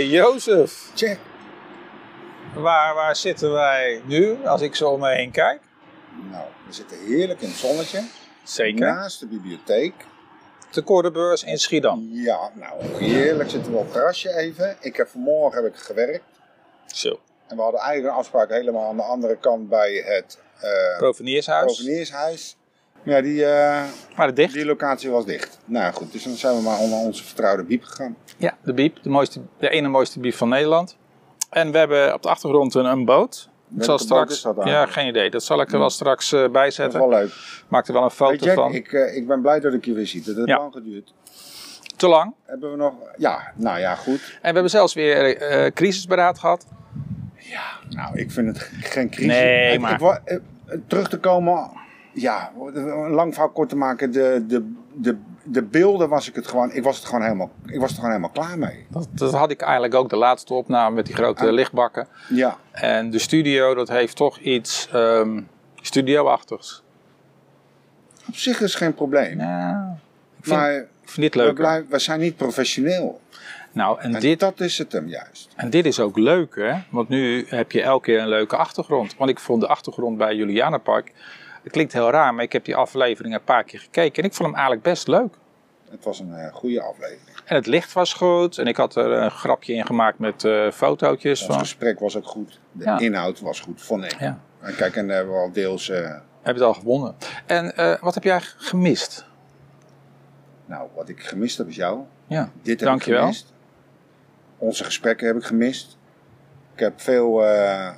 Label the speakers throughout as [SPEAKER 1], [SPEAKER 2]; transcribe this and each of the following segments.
[SPEAKER 1] Jozef,
[SPEAKER 2] Check.
[SPEAKER 1] waar, waar zitten wij nu als ik zo om me heen kijk?
[SPEAKER 2] Nou, we zitten heerlijk in het zonnetje.
[SPEAKER 1] Zeker.
[SPEAKER 2] Naast de bibliotheek.
[SPEAKER 1] De Koordenbeurs in Schiedam.
[SPEAKER 2] Ja, nou, heerlijk zitten we op het terrasje even. Ik heb vanmorgen heb ik gewerkt.
[SPEAKER 1] Zo.
[SPEAKER 2] En we hadden eigenlijk een afspraak helemaal aan de andere kant bij het eh
[SPEAKER 1] Proveniershuis.
[SPEAKER 2] proveniershuis. Maar ja, die, eh,
[SPEAKER 1] Maar de dicht.
[SPEAKER 2] die locatie was dicht. Nou goed, dus dan zijn we maar onder onze vertrouwde biep gegaan.
[SPEAKER 1] Ja, de biep. De, mooiste, de ene mooiste biep van Nederland. En we hebben op de achtergrond een, een boot. Ik zal
[SPEAKER 2] boot
[SPEAKER 1] straks,
[SPEAKER 2] is dat
[SPEAKER 1] ja,
[SPEAKER 2] eigenlijk?
[SPEAKER 1] geen idee. Dat zal ik er wel straks eh, bij
[SPEAKER 2] Dat is
[SPEAKER 1] zetten.
[SPEAKER 2] wel leuk.
[SPEAKER 1] Maak er wel een
[SPEAKER 2] Hey
[SPEAKER 1] foto
[SPEAKER 2] Jack,
[SPEAKER 1] van.
[SPEAKER 2] ik, eh, ik ben blij dat ik je weer zie. Dat heeft
[SPEAKER 1] Ja.
[SPEAKER 2] lang geduurd.
[SPEAKER 1] Te lang.
[SPEAKER 2] Hebben we nog... Ja, nou ja, goed.
[SPEAKER 1] En we hebben zelfs weer eh, crisisberaad gehad.
[SPEAKER 2] Nou, ik vind het geen crisis.
[SPEAKER 1] Nee,
[SPEAKER 2] Ik- ik
[SPEAKER 1] maar-
[SPEAKER 2] wa- eh, terug te komen, ja, een lang verhaal kort te maken. De, de, de, de beelden was ik het gewoon, ik was het gewoon helemaal, ik was er gewoon helemaal klaar mee.
[SPEAKER 1] Dat, dat had ik eigenlijk ook de laatste opname met die grote
[SPEAKER 2] Ah.
[SPEAKER 1] lichtbakken.
[SPEAKER 2] Ja,
[SPEAKER 1] En de studio, dat heeft toch iets ehm studioachtigs.
[SPEAKER 2] op zich is geen probleem.
[SPEAKER 1] Ja, ik vind,
[SPEAKER 2] maar
[SPEAKER 1] ik vind dit
[SPEAKER 2] we,
[SPEAKER 1] leuker.
[SPEAKER 2] blijven, we zijn niet professioneel.
[SPEAKER 1] Nou, en
[SPEAKER 2] En
[SPEAKER 1] dit,
[SPEAKER 2] dat is het hem juist.
[SPEAKER 1] En dit is ook leuk, hè? Want nu heb je elke keer een leuke achtergrond. Want ik vond de achtergrond bij Julianenpark. Het klinkt heel raar, maar ik heb die aflevering een paar keer gekeken. En ik vond hem eigenlijk best leuk.
[SPEAKER 2] Het was een eh, goede aflevering.
[SPEAKER 1] En het licht was goed. En ik had er een grapje in gemaakt met eh fotootjes.
[SPEAKER 2] Ons
[SPEAKER 1] Van.
[SPEAKER 2] gesprek was ook goed. De
[SPEAKER 1] Ja.
[SPEAKER 2] inhoud was goed, vond ik.
[SPEAKER 1] Ja.
[SPEAKER 2] En kijk, en daar hebben we al deels, eh,
[SPEAKER 1] Heb je het al gewonnen? En eh, wat heb jij gemist?
[SPEAKER 2] nou, wat ik gemist heb is jou.
[SPEAKER 1] Ja,
[SPEAKER 2] Dit heb
[SPEAKER 1] Dankjewel.
[SPEAKER 2] ik gemist. Onze gesprekken heb ik gemist. Ik heb veel eh,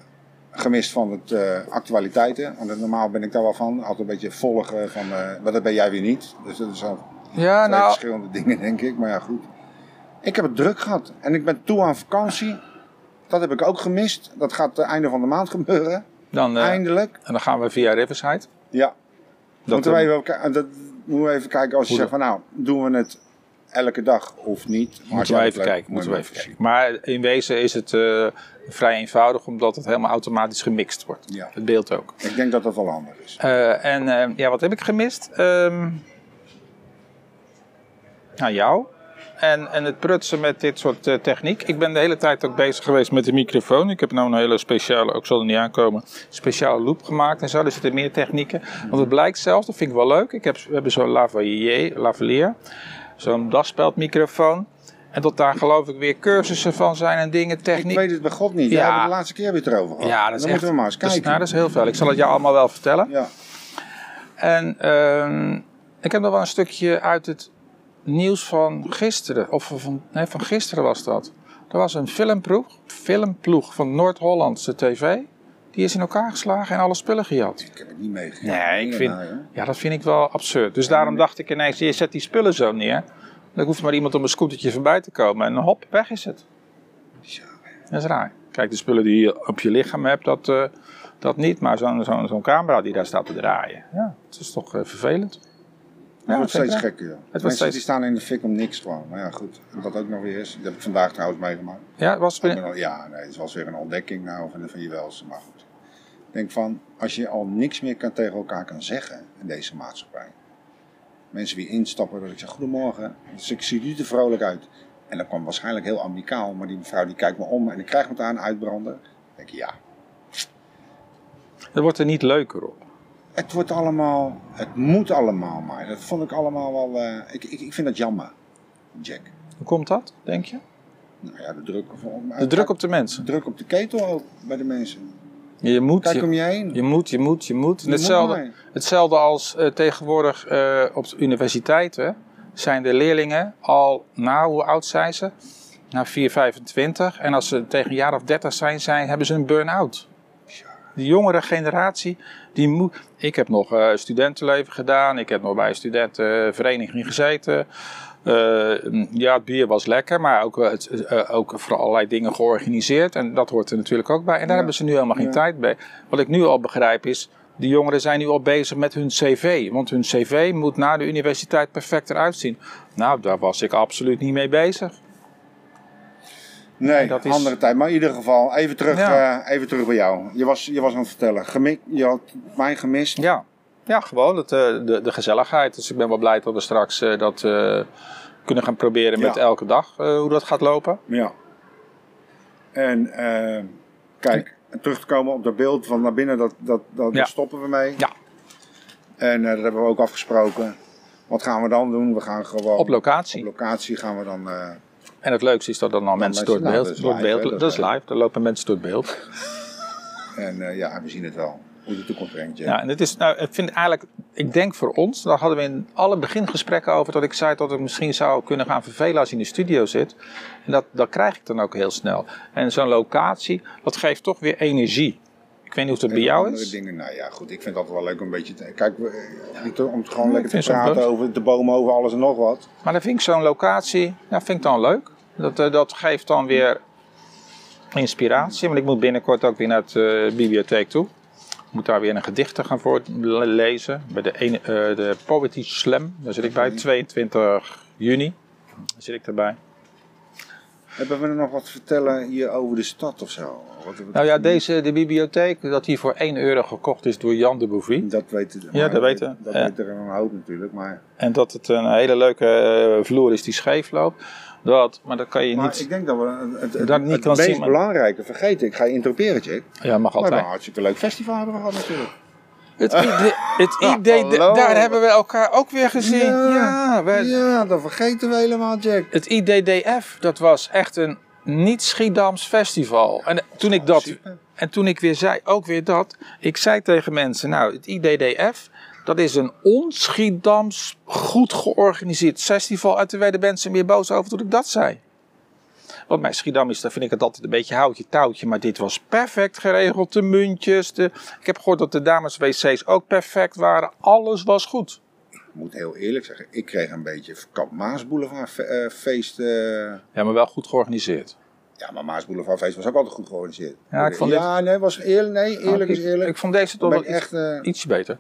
[SPEAKER 2] gemist van het eh, actualiteiten. Want normaal ben ik daar wel van. Altijd een beetje volgen van. eh maar dat ben jij weer niet. Dus dat is al
[SPEAKER 1] ja
[SPEAKER 2] twee
[SPEAKER 1] Ah, nou,
[SPEAKER 2] verschillende dingen, denk ik. Maar ja, goed. Ik heb het druk gehad. En ik ben toe aan vakantie. Dat heb ik ook gemist. Dat gaat het einde van de maand gebeuren.
[SPEAKER 1] dan, eh,
[SPEAKER 2] Eindelijk.
[SPEAKER 1] en dan gaan we via Riverside.
[SPEAKER 2] Ja.
[SPEAKER 1] Dat
[SPEAKER 2] moeten, we
[SPEAKER 1] hem-
[SPEAKER 2] even, elkaar- dat, moeten we even kijken als je
[SPEAKER 1] Hoe
[SPEAKER 2] zegt van nou, doen we het elke dag of niet. Maar als
[SPEAKER 1] Moeten we
[SPEAKER 2] jij het
[SPEAKER 1] even
[SPEAKER 2] leuk-
[SPEAKER 1] kijken. Moeten we even
[SPEAKER 2] zien.
[SPEAKER 1] kijken. Maar in wezen is het eh, vrij eenvoudig, omdat het helemaal automatisch gemixt wordt.
[SPEAKER 2] Ja.
[SPEAKER 1] Het beeld ook.
[SPEAKER 2] Ik denk dat dat wel handig is.
[SPEAKER 1] Eh, en eh, ja, wat heb ik gemist? Ehm nou, jou. En, en het prutsen met dit soort eh, techniek. Ik ben de hele tijd ook bezig geweest met de microfoon. Ik heb nou een hele speciale, ook zal er niet aankomen, speciale loop gemaakt en zo. Er zitten meer technieken. Want het blijkt zelfs, dat vind ik wel leuk. Ik heb, we hebben zo'n lavalier, lavalier zo'n daspeldmicrofoon. En dat daar geloof ik weer cursussen van zijn en dingen,
[SPEAKER 2] Ik
[SPEAKER 1] techniek.
[SPEAKER 2] weet het bij God niet.
[SPEAKER 1] Ja.
[SPEAKER 2] Jij hebt het de laatste keer weer erover gehad.
[SPEAKER 1] Ja, dat is echt-
[SPEAKER 2] Dan moeten we maar eens
[SPEAKER 1] dat is-
[SPEAKER 2] kijken.
[SPEAKER 1] nou, dat is nou- heel veel. Ik zal het jou allemaal wel vertellen.
[SPEAKER 2] ja.
[SPEAKER 1] En ehm, ik heb nog wel een stukje uit het nieuws van gisteren. Of van, nee, van gisteren was dat. Er was een filmploeg, filmploeg van Noord-Hollandse TV. Die is in elkaar geslagen en alle spullen gejat.
[SPEAKER 2] Ik heb het niet meegekregen.
[SPEAKER 1] Nee, ik vind,
[SPEAKER 2] Nou, joh.
[SPEAKER 1] ja, dat vind ik wel absurd. Dus daarom dacht ik ineens, je zet die spullen zo neer. Dan hoeft maar iemand op een scootertje voorbij te komen. En hop, weg is het. Dat is raar. Kijk, de spullen die je op je lichaam hebt, dat, eh, dat niet. Maar zo'n zo'n zo'n camera die daar staat te draaien. Ja, het is toch eh, vervelend.
[SPEAKER 2] Het wordt
[SPEAKER 1] zeker.
[SPEAKER 2] steeds gekker. joh. Mensen
[SPEAKER 1] steeds-
[SPEAKER 2] die staan in de fik om niks gewoon. Maar ja, goed. Dat ook nog weer is. Dat heb ik vandaag trouwens meegemaakt.
[SPEAKER 1] Ja, was
[SPEAKER 2] Ik ben al- Ja, nee, het was weer een ontdekking nou van, van je welste. Maar goed. Ik denk van, als je al niks meer kan, tegen elkaar kan zeggen in deze maatschappij. Mensen die instappen, dat ik zeg goedemorgen. Dus ik zie u er vrolijk uit. En dat kwam waarschijnlijk heel amicaal, maar die mevrouw die kijkt me om en ik krijg meteen uitbranden. Ik denk ja,
[SPEAKER 1] het wordt er niet leuker op.
[SPEAKER 2] het wordt allemaal, het moet allemaal maar. Dat vond ik allemaal wel, eh, ik, ik, ik vind dat jammer, Jack.
[SPEAKER 1] Hoe komt dat, denk je?
[SPEAKER 2] Nou ja, de druk,
[SPEAKER 1] De druk op de mensen.
[SPEAKER 2] druk op de ketel ook bij de mensen.
[SPEAKER 1] Je moet,
[SPEAKER 2] Kijk
[SPEAKER 1] je,
[SPEAKER 2] om je heen.
[SPEAKER 1] je moet, je moet, je moet.
[SPEAKER 2] Je moet
[SPEAKER 1] Hetzelfde,
[SPEAKER 2] maar.
[SPEAKER 1] Hetzelfde als eh, tegenwoordig eh, op de universiteiten zijn de leerlingen al na, hoe oud zijn ze? Na 4, 25. En als ze tegen een jaar of 30 zijn, zijn hebben ze een burn-out. De jongere generatie, die moet... Ik heb nog eh, studentenleven gedaan. Ik heb nog bij een studentenvereniging gezeten. Eh, ja, het bier was lekker, maar ook, eh, het, eh, ook voor allerlei dingen georganiseerd. En dat hoort er natuurlijk ook bij. En daar
[SPEAKER 2] Ja.
[SPEAKER 1] hebben ze nu helemaal geen
[SPEAKER 2] Ja.
[SPEAKER 1] tijd bij. Wat ik nu al begrijp is, de jongeren zijn nu al bezig met hun cv. Want hun cv moet na de universiteit perfect eruit zien. Nou, daar was ik absoluut niet mee bezig.
[SPEAKER 2] Nee,
[SPEAKER 1] dat is-
[SPEAKER 2] andere tijd. Maar in ieder geval, even terug,
[SPEAKER 1] Ja.
[SPEAKER 2] eh, even terug bij jou. Je was, je was aan het vertellen. Gemi- je had mij gemist.
[SPEAKER 1] Ja, ja gewoon het, eh, de, de gezelligheid. Dus ik ben wel blij dat we straks eh, dat eh, kunnen gaan proberen met
[SPEAKER 2] Ja.
[SPEAKER 1] elke dag, eh, hoe dat gaat lopen.
[SPEAKER 2] Ja. En eh, kijk, terug te komen op dat beeld van naar binnen, dat, dat, dat
[SPEAKER 1] Ja.
[SPEAKER 2] daar stoppen we mee.
[SPEAKER 1] Ja.
[SPEAKER 2] En eh, dat hebben we ook afgesproken. Wat gaan we dan doen? We gaan gewoon
[SPEAKER 1] Op locatie.
[SPEAKER 2] op locatie gaan we dan. eh,
[SPEAKER 1] En het leukste is dat er dan mensen door het
[SPEAKER 2] mensen- nou,
[SPEAKER 1] beeld.
[SPEAKER 2] dat is
[SPEAKER 1] door het
[SPEAKER 2] live,
[SPEAKER 1] beeld
[SPEAKER 2] hè, dat
[SPEAKER 1] dat is
[SPEAKER 2] is-
[SPEAKER 1] live, er lopen mensen door het beeld.
[SPEAKER 2] en eh, ja, we zien het wel. Hoe de toekomst brengt.
[SPEAKER 1] Ja, en het is, nou, ik vind eigenlijk, ik denk voor ons, daar hadden we in alle begingesprekken over dat ik zei dat ik misschien zou kunnen gaan vervelen als je in de studio zit. En dat, dat krijg ik dan ook heel snel. En zo'n locatie, dat geeft toch weer energie. Ik weet niet hoe het bij
[SPEAKER 2] En
[SPEAKER 1] jou
[SPEAKER 2] andere
[SPEAKER 1] is.
[SPEAKER 2] Dingen, nou ja, goed. Ik vind dat wel leuk om een beetje. Te, kijk, we, eh, om, te- om het gewoon
[SPEAKER 1] Ja, ik
[SPEAKER 2] lekker
[SPEAKER 1] vind
[SPEAKER 2] te
[SPEAKER 1] zo'n
[SPEAKER 2] praten
[SPEAKER 1] punt.
[SPEAKER 2] over de bomen, over alles en nog wat.
[SPEAKER 1] Maar dan vind ik zo'n locatie, ja, vind ik dan leuk. Dat, eh, dat geeft dan weer inspiratie. Want ik moet binnenkort ook weer naar de bibliotheek toe. Ik moet daar weer een gedicht gaan voorlezen. Bij de, ene, eh, de Poetry Slam, daar zit ik bij, 22 juni. Daar zit ik erbij.
[SPEAKER 2] Hebben we er nog wat te vertellen hier over de stad of zo? Wat, wat-
[SPEAKER 1] Nou ja, deze, de bibliotheek, dat die voor 1 euro gekocht is door Jan de Bouvie.
[SPEAKER 2] Dat weten
[SPEAKER 1] Ja,
[SPEAKER 2] maar
[SPEAKER 1] dat weten-
[SPEAKER 2] Dat
[SPEAKER 1] ja.
[SPEAKER 2] weten er een hoop natuurlijk. Maar,
[SPEAKER 1] En dat het een hele leuke eh, vloer is die scheef loopt. Dat, maar dat kan je
[SPEAKER 2] maar
[SPEAKER 1] niet...
[SPEAKER 2] ik denk dat we het, het,
[SPEAKER 1] Dat niet
[SPEAKER 2] het
[SPEAKER 1] kan
[SPEAKER 2] meest
[SPEAKER 1] zien, maar-
[SPEAKER 2] belangrijke vergeten. Ik ga je interroperen, Jack.
[SPEAKER 1] Ja, mag
[SPEAKER 2] Maar we hebben
[SPEAKER 1] altijd.
[SPEAKER 2] een hartstikke leuk festival hebben we gehad natuurlijk.
[SPEAKER 1] Het idee, het idee
[SPEAKER 2] hallo.
[SPEAKER 1] daar hebben we elkaar ook weer gezien. Ja, we-
[SPEAKER 2] ja, dat vergeten we helemaal, Jack.
[SPEAKER 1] Het IDDF, dat was echt een niet-Schiedams festival. En toen ik dat,
[SPEAKER 2] super.
[SPEAKER 1] en toen ik weer zei, ook weer dat, ik zei tegen mensen, nou, het IDDF, dat is een onschiedams goed georganiseerd festival. En toen werden mensen meer boos over toen ik dat zei. Want mijn Schiedam is, daar vind ik het altijd een beetje houtje touwtje. Maar dit was perfect geregeld. De muntjes. De... Ik heb gehoord dat de dames wc's ook perfect waren. Alles was goed.
[SPEAKER 2] Ik moet heel eerlijk zeggen, ik kreeg een beetje Kamp Maas Boulevard fe- eh, feest. eh,
[SPEAKER 1] Ja, maar wel goed georganiseerd.
[SPEAKER 2] Ja, maar Maas Boulevard feest was ook altijd goed georganiseerd.
[SPEAKER 1] Ja, ik vond dit-
[SPEAKER 2] ja nee, was eerlijk, nee, eerlijk is eerlijk.
[SPEAKER 1] Ik vond deze toch
[SPEAKER 2] ben
[SPEAKER 1] wel
[SPEAKER 2] ik echt,
[SPEAKER 1] echt,
[SPEAKER 2] eh,
[SPEAKER 1] ietsje beter.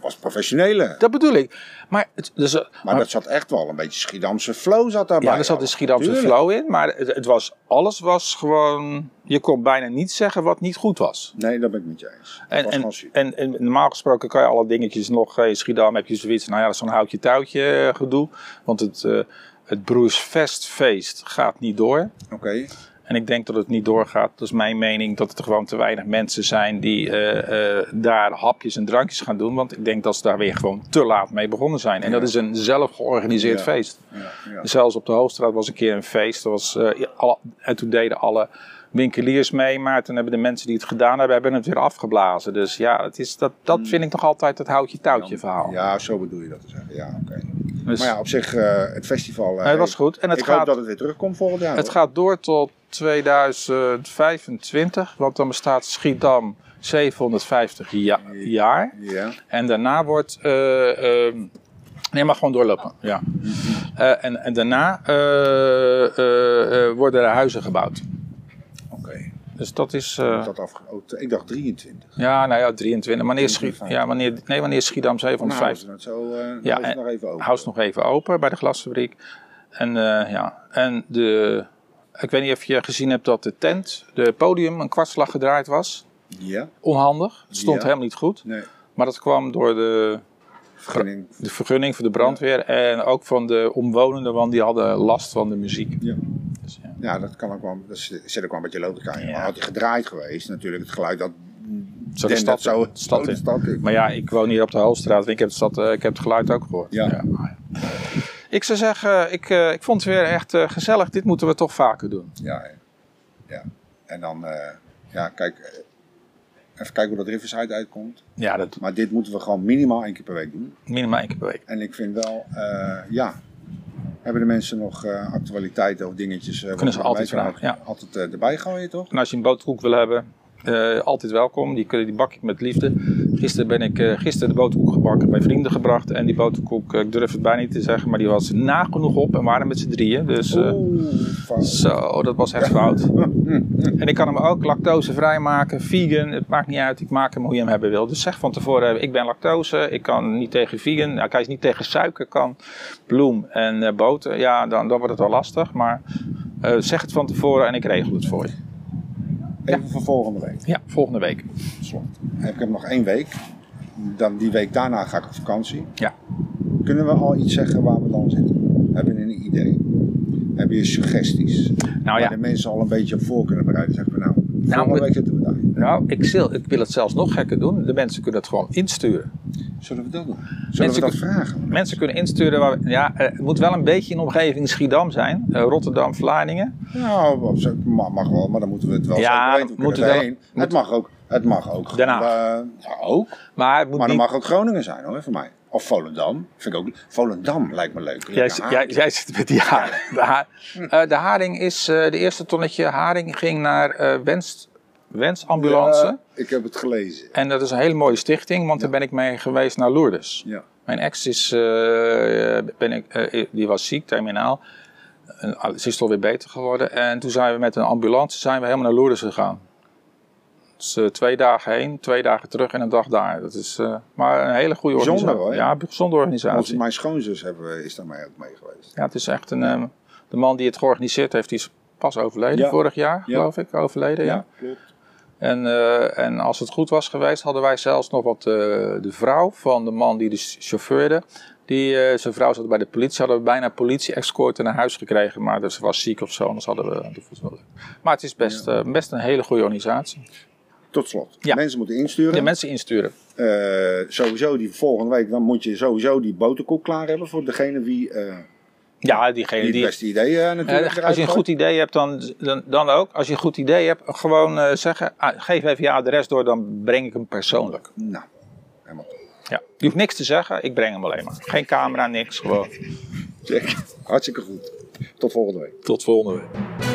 [SPEAKER 2] was professionele.
[SPEAKER 1] Dat bedoel ik. Maar, het, dus, eh,
[SPEAKER 2] Maar
[SPEAKER 1] maar-
[SPEAKER 2] dat zat echt wel een beetje Schiedamse flow zat daarbij.
[SPEAKER 1] ja, er zat een Schiedamse
[SPEAKER 2] Tuurlijk.
[SPEAKER 1] flow in. Maar het, het was, alles was gewoon... Je kon bijna niet zeggen wat niet goed was.
[SPEAKER 2] Nee, dat ben ik met je eens. Dat
[SPEAKER 1] En,
[SPEAKER 2] was
[SPEAKER 1] en,
[SPEAKER 2] gewoon super.
[SPEAKER 1] en, en normaal gesproken kan je alle dingetjes nog... eh, In Schiedam heb je zoiets nou ja, dat is zo'n houtje-touwtje eh, gedoe. Want het, eh het Broers Festfeest gaat niet door.
[SPEAKER 2] Oké,
[SPEAKER 1] En ik denk dat het niet doorgaat. Dat is mijn mening dat er gewoon te weinig mensen zijn die eh, eh, daar hapjes en drankjes gaan doen. Want ik denk dat ze daar weer gewoon te laat mee begonnen zijn. En dat is een zelf georganiseerd
[SPEAKER 2] Ja.
[SPEAKER 1] feest.
[SPEAKER 2] ja, ja.
[SPEAKER 1] Zelfs op de Hoofdstraat was een keer een feest. Er was, eh, ja, alle- en toen deden alle winkeliers mee. Maar toen hebben de mensen die het gedaan hebben, hebben het weer afgeblazen. Dus ja, het is, dat, dat vind ik toch altijd het houtje-touwtje verhaal.
[SPEAKER 2] Mm. ja, zo bedoel je dat te zeggen. Ja, oké.
[SPEAKER 1] Dus,
[SPEAKER 2] Maar ja, op zich, eh, het festival. eh,
[SPEAKER 1] het was goed. En het
[SPEAKER 2] ik
[SPEAKER 1] gaat-
[SPEAKER 2] hoop dat het weer terugkomt volgend jaar.
[SPEAKER 1] Het
[SPEAKER 2] hoor.
[SPEAKER 1] gaat door tot 2025, want dan bestaat Schiedam 750 ja- jaar.
[SPEAKER 2] Ja.
[SPEAKER 1] En daarna wordt. eh, ehm, nee, maar gewoon doorlopen. Ja. Eh, en, en daarna eh, eh, eh, worden er huizen gebouwd.
[SPEAKER 2] Oké.
[SPEAKER 1] Dus dat is. eh,
[SPEAKER 2] Dat afge... oh, t- ik dacht 23.
[SPEAKER 1] ja, nou ja, 23. Wanneer, Schied-
[SPEAKER 2] 23.
[SPEAKER 1] ja, wanneer, nee, wanneer Schiedam
[SPEAKER 2] Nou, houden
[SPEAKER 1] 750.
[SPEAKER 2] ze het zo eh,
[SPEAKER 1] Ja,
[SPEAKER 2] houden
[SPEAKER 1] en-
[SPEAKER 2] ze het nog even over.
[SPEAKER 1] Hou ze nog even open bij de glasfabriek. En eh, ja, en de. Ik weet niet of je gezien hebt dat de tent, de podium, een kwartslag gedraaid was.
[SPEAKER 2] Ja,
[SPEAKER 1] Onhandig. Het stond
[SPEAKER 2] Ja.
[SPEAKER 1] helemaal niet goed.
[SPEAKER 2] nee.
[SPEAKER 1] Maar dat kwam door de,
[SPEAKER 2] Vergunning.
[SPEAKER 1] de vergunning van de brandweer en ook van de omwonenden, want die hadden last van de muziek.
[SPEAKER 2] Ja.
[SPEAKER 1] Dus, ja.
[SPEAKER 2] Ja, dat kan ook wel. Dat zit zit ook wel een beetje logica in.
[SPEAKER 1] Ja.
[SPEAKER 2] Maar had hij gedraaid geweest, natuurlijk het geluid dat.
[SPEAKER 1] Zo de
[SPEAKER 2] dat
[SPEAKER 1] stad,
[SPEAKER 2] zo,
[SPEAKER 1] stad
[SPEAKER 2] zo de
[SPEAKER 1] in.
[SPEAKER 2] stad in.
[SPEAKER 1] Maar ja, ik woon hier op de Hoofdstraat en ik heb het, stad, eh, ik heb het geluid ook gehoord.
[SPEAKER 2] Ja.
[SPEAKER 1] maar ja. Ik zou zeggen, ik, eh, ik vond het weer echt eh, gezellig. Dit moeten we toch vaker doen.
[SPEAKER 2] Ja, ja. ja. En dan, eh, ja, kijk. eh, Even kijken hoe dat Riverside uitkomt.
[SPEAKER 1] Ja, dat
[SPEAKER 2] Maar dit moeten we gewoon minimaal één keer per week doen.
[SPEAKER 1] minimaal één keer per week.
[SPEAKER 2] En ik vind wel, eh, ja. Hebben de mensen nog eh, actualiteiten of dingetjes? eh, wat
[SPEAKER 1] Kunnen ze
[SPEAKER 2] erbij
[SPEAKER 1] altijd
[SPEAKER 2] kunnen?
[SPEAKER 1] vragen, ja.
[SPEAKER 2] Altijd eh, erbij gooien, toch?
[SPEAKER 1] En als je een boterkoek wil hebben, eh, altijd welkom. Die, kun je- die bak ik met liefde. Gisteren ben ik eh, gisteren de boterkoek gebakken bij vrienden gebracht. En die boterkoek, eh, ik durf het bijna niet te zeggen, maar die was nagenoeg op en waren met z'n drieën. Dus eh,
[SPEAKER 2] Oeh, Hm, fout.
[SPEAKER 1] zo, dat was echt fout. En ik kan hem ook lactosevrij maken, vegan, het maakt niet uit. Ik maak hem hoe je hem hebben wil. Dus zeg van tevoren, eh, ik ben lactose, ik kan niet tegen vegan. Nou, ik kan niet tegen suiker, kan bloem en eh, boter. Ja, dan, dan wordt het al lastig. Maar eh, zeg het van tevoren en ik regel het voor je.
[SPEAKER 2] Even voor volgende week.
[SPEAKER 1] Ja, volgende week.
[SPEAKER 2] slot. Ik heb nog één week. Dan die week daarna ga ik op vakantie.
[SPEAKER 1] Ja.
[SPEAKER 2] Kunnen we al iets zeggen waar we dan zitten? Hebben we een idee? Hebben weer suggesties.
[SPEAKER 1] Nou ja,
[SPEAKER 2] Waar de mensen al een beetje op voor kunnen bereiden. Zeggen we nou,
[SPEAKER 1] Nou,
[SPEAKER 2] volgende
[SPEAKER 1] we-
[SPEAKER 2] week zitten we daar.
[SPEAKER 1] nou ik, zil- ik wil het zelfs nog gekker doen. De mensen kunnen het gewoon insturen.
[SPEAKER 2] Zullen we dat doen? Zullen we
[SPEAKER 1] Mensen
[SPEAKER 2] dat
[SPEAKER 1] kun-
[SPEAKER 2] vragen?
[SPEAKER 1] Mensen kunnen insturen. Waar we- ja, eh, het moet wel een beetje in de omgeving Schiedam zijn. Eh, Rotterdam, Vlaardingen.
[SPEAKER 2] Nou, op zich ma- mag wel, maar dan moeten we het wel
[SPEAKER 1] Ja,
[SPEAKER 2] zeker weten. We
[SPEAKER 1] moeten
[SPEAKER 2] moeten
[SPEAKER 1] we
[SPEAKER 2] erheen.
[SPEAKER 1] wel-
[SPEAKER 2] Het mag ook. Het mag ook.
[SPEAKER 1] Den Haag.
[SPEAKER 2] eh, ja, ook.
[SPEAKER 1] Maar het moet
[SPEAKER 2] Maar dan
[SPEAKER 1] niet...
[SPEAKER 2] mag ook Groningen zijn hoor, voor mij. Of Volendam. Vind ik ook. Volendam lijkt me leuk.
[SPEAKER 1] Jij,
[SPEAKER 2] Lekker
[SPEAKER 1] jij,
[SPEAKER 2] haak.
[SPEAKER 1] jij zit met die haring. De, ha- eh, de haring is... eh, de eerste tonnetje haring ging naar eh wens, Wensambulance.
[SPEAKER 2] Ja, ik heb het gelezen.
[SPEAKER 1] En dat is een hele mooie stichting. Want daar ben ik mee geweest naar Lourdes.
[SPEAKER 2] Ja.
[SPEAKER 1] Mijn ex is, eh, ben ik, eh, die was ziek, terminaal. En ah, Ze is toch weer beter geworden. En toen zijn we met een ambulance zijn we helemaal naar Lourdes gegaan. Dus eh, twee dagen heen, twee dagen terug en een dag daar. Dat is eh, maar een hele goede
[SPEAKER 2] Bijzonder,
[SPEAKER 1] organisatie.
[SPEAKER 2] hoor, hè?
[SPEAKER 1] Ja, een bijzondere
[SPEAKER 2] Onze,
[SPEAKER 1] organisatie.
[SPEAKER 2] mijn schoonzus hebben, we- is daar mij ook mee geweest.
[SPEAKER 1] Ja, het is echt een... eh, de man die het georganiseerd heeft, die is pas overleden.
[SPEAKER 2] Ja.
[SPEAKER 1] Vorig jaar,
[SPEAKER 2] Ja.
[SPEAKER 1] geloof ik. Overleden, ja.
[SPEAKER 2] klopt.
[SPEAKER 1] En, eh, en als het goed was geweest, hadden wij zelfs nog wat eh, de vrouw van de man die de ch- chauffeurde. Die, eh, zijn vrouw zat bij de politie, hadden we bijna politie-escorten naar huis gekregen. Maar dus ze was ziek of zo, anders hadden we de voetbal. Maar het is best, eh, best een hele goede organisatie.
[SPEAKER 2] Tot slot.
[SPEAKER 1] Ja.
[SPEAKER 2] Mensen moeten insturen.
[SPEAKER 1] De mensen insturen.
[SPEAKER 2] Eh, sowieso die volgende week, dan moet je sowieso die boterkoek klaar hebben voor degene wie, eh,
[SPEAKER 1] Ja,
[SPEAKER 2] die
[SPEAKER 1] diegene
[SPEAKER 2] het
[SPEAKER 1] die...
[SPEAKER 2] beste idee eh,
[SPEAKER 1] Eh,
[SPEAKER 2] natuurlijk eruit
[SPEAKER 1] als je een
[SPEAKER 2] gooit.
[SPEAKER 1] goed idee hebt, dan, dan, dan ook. Als je een goed idee hebt, gewoon eh, zeggen, ah, geef even je adres door, dan breng ik hem persoonlijk.
[SPEAKER 2] Nou, helemaal top.
[SPEAKER 1] Ja. Je hoeft niks te zeggen, ik breng hem alleen maar. Geen camera, niks, gewoon.
[SPEAKER 2] Check. Hartstikke goed. Tot volgende week.
[SPEAKER 1] Tot volgende week.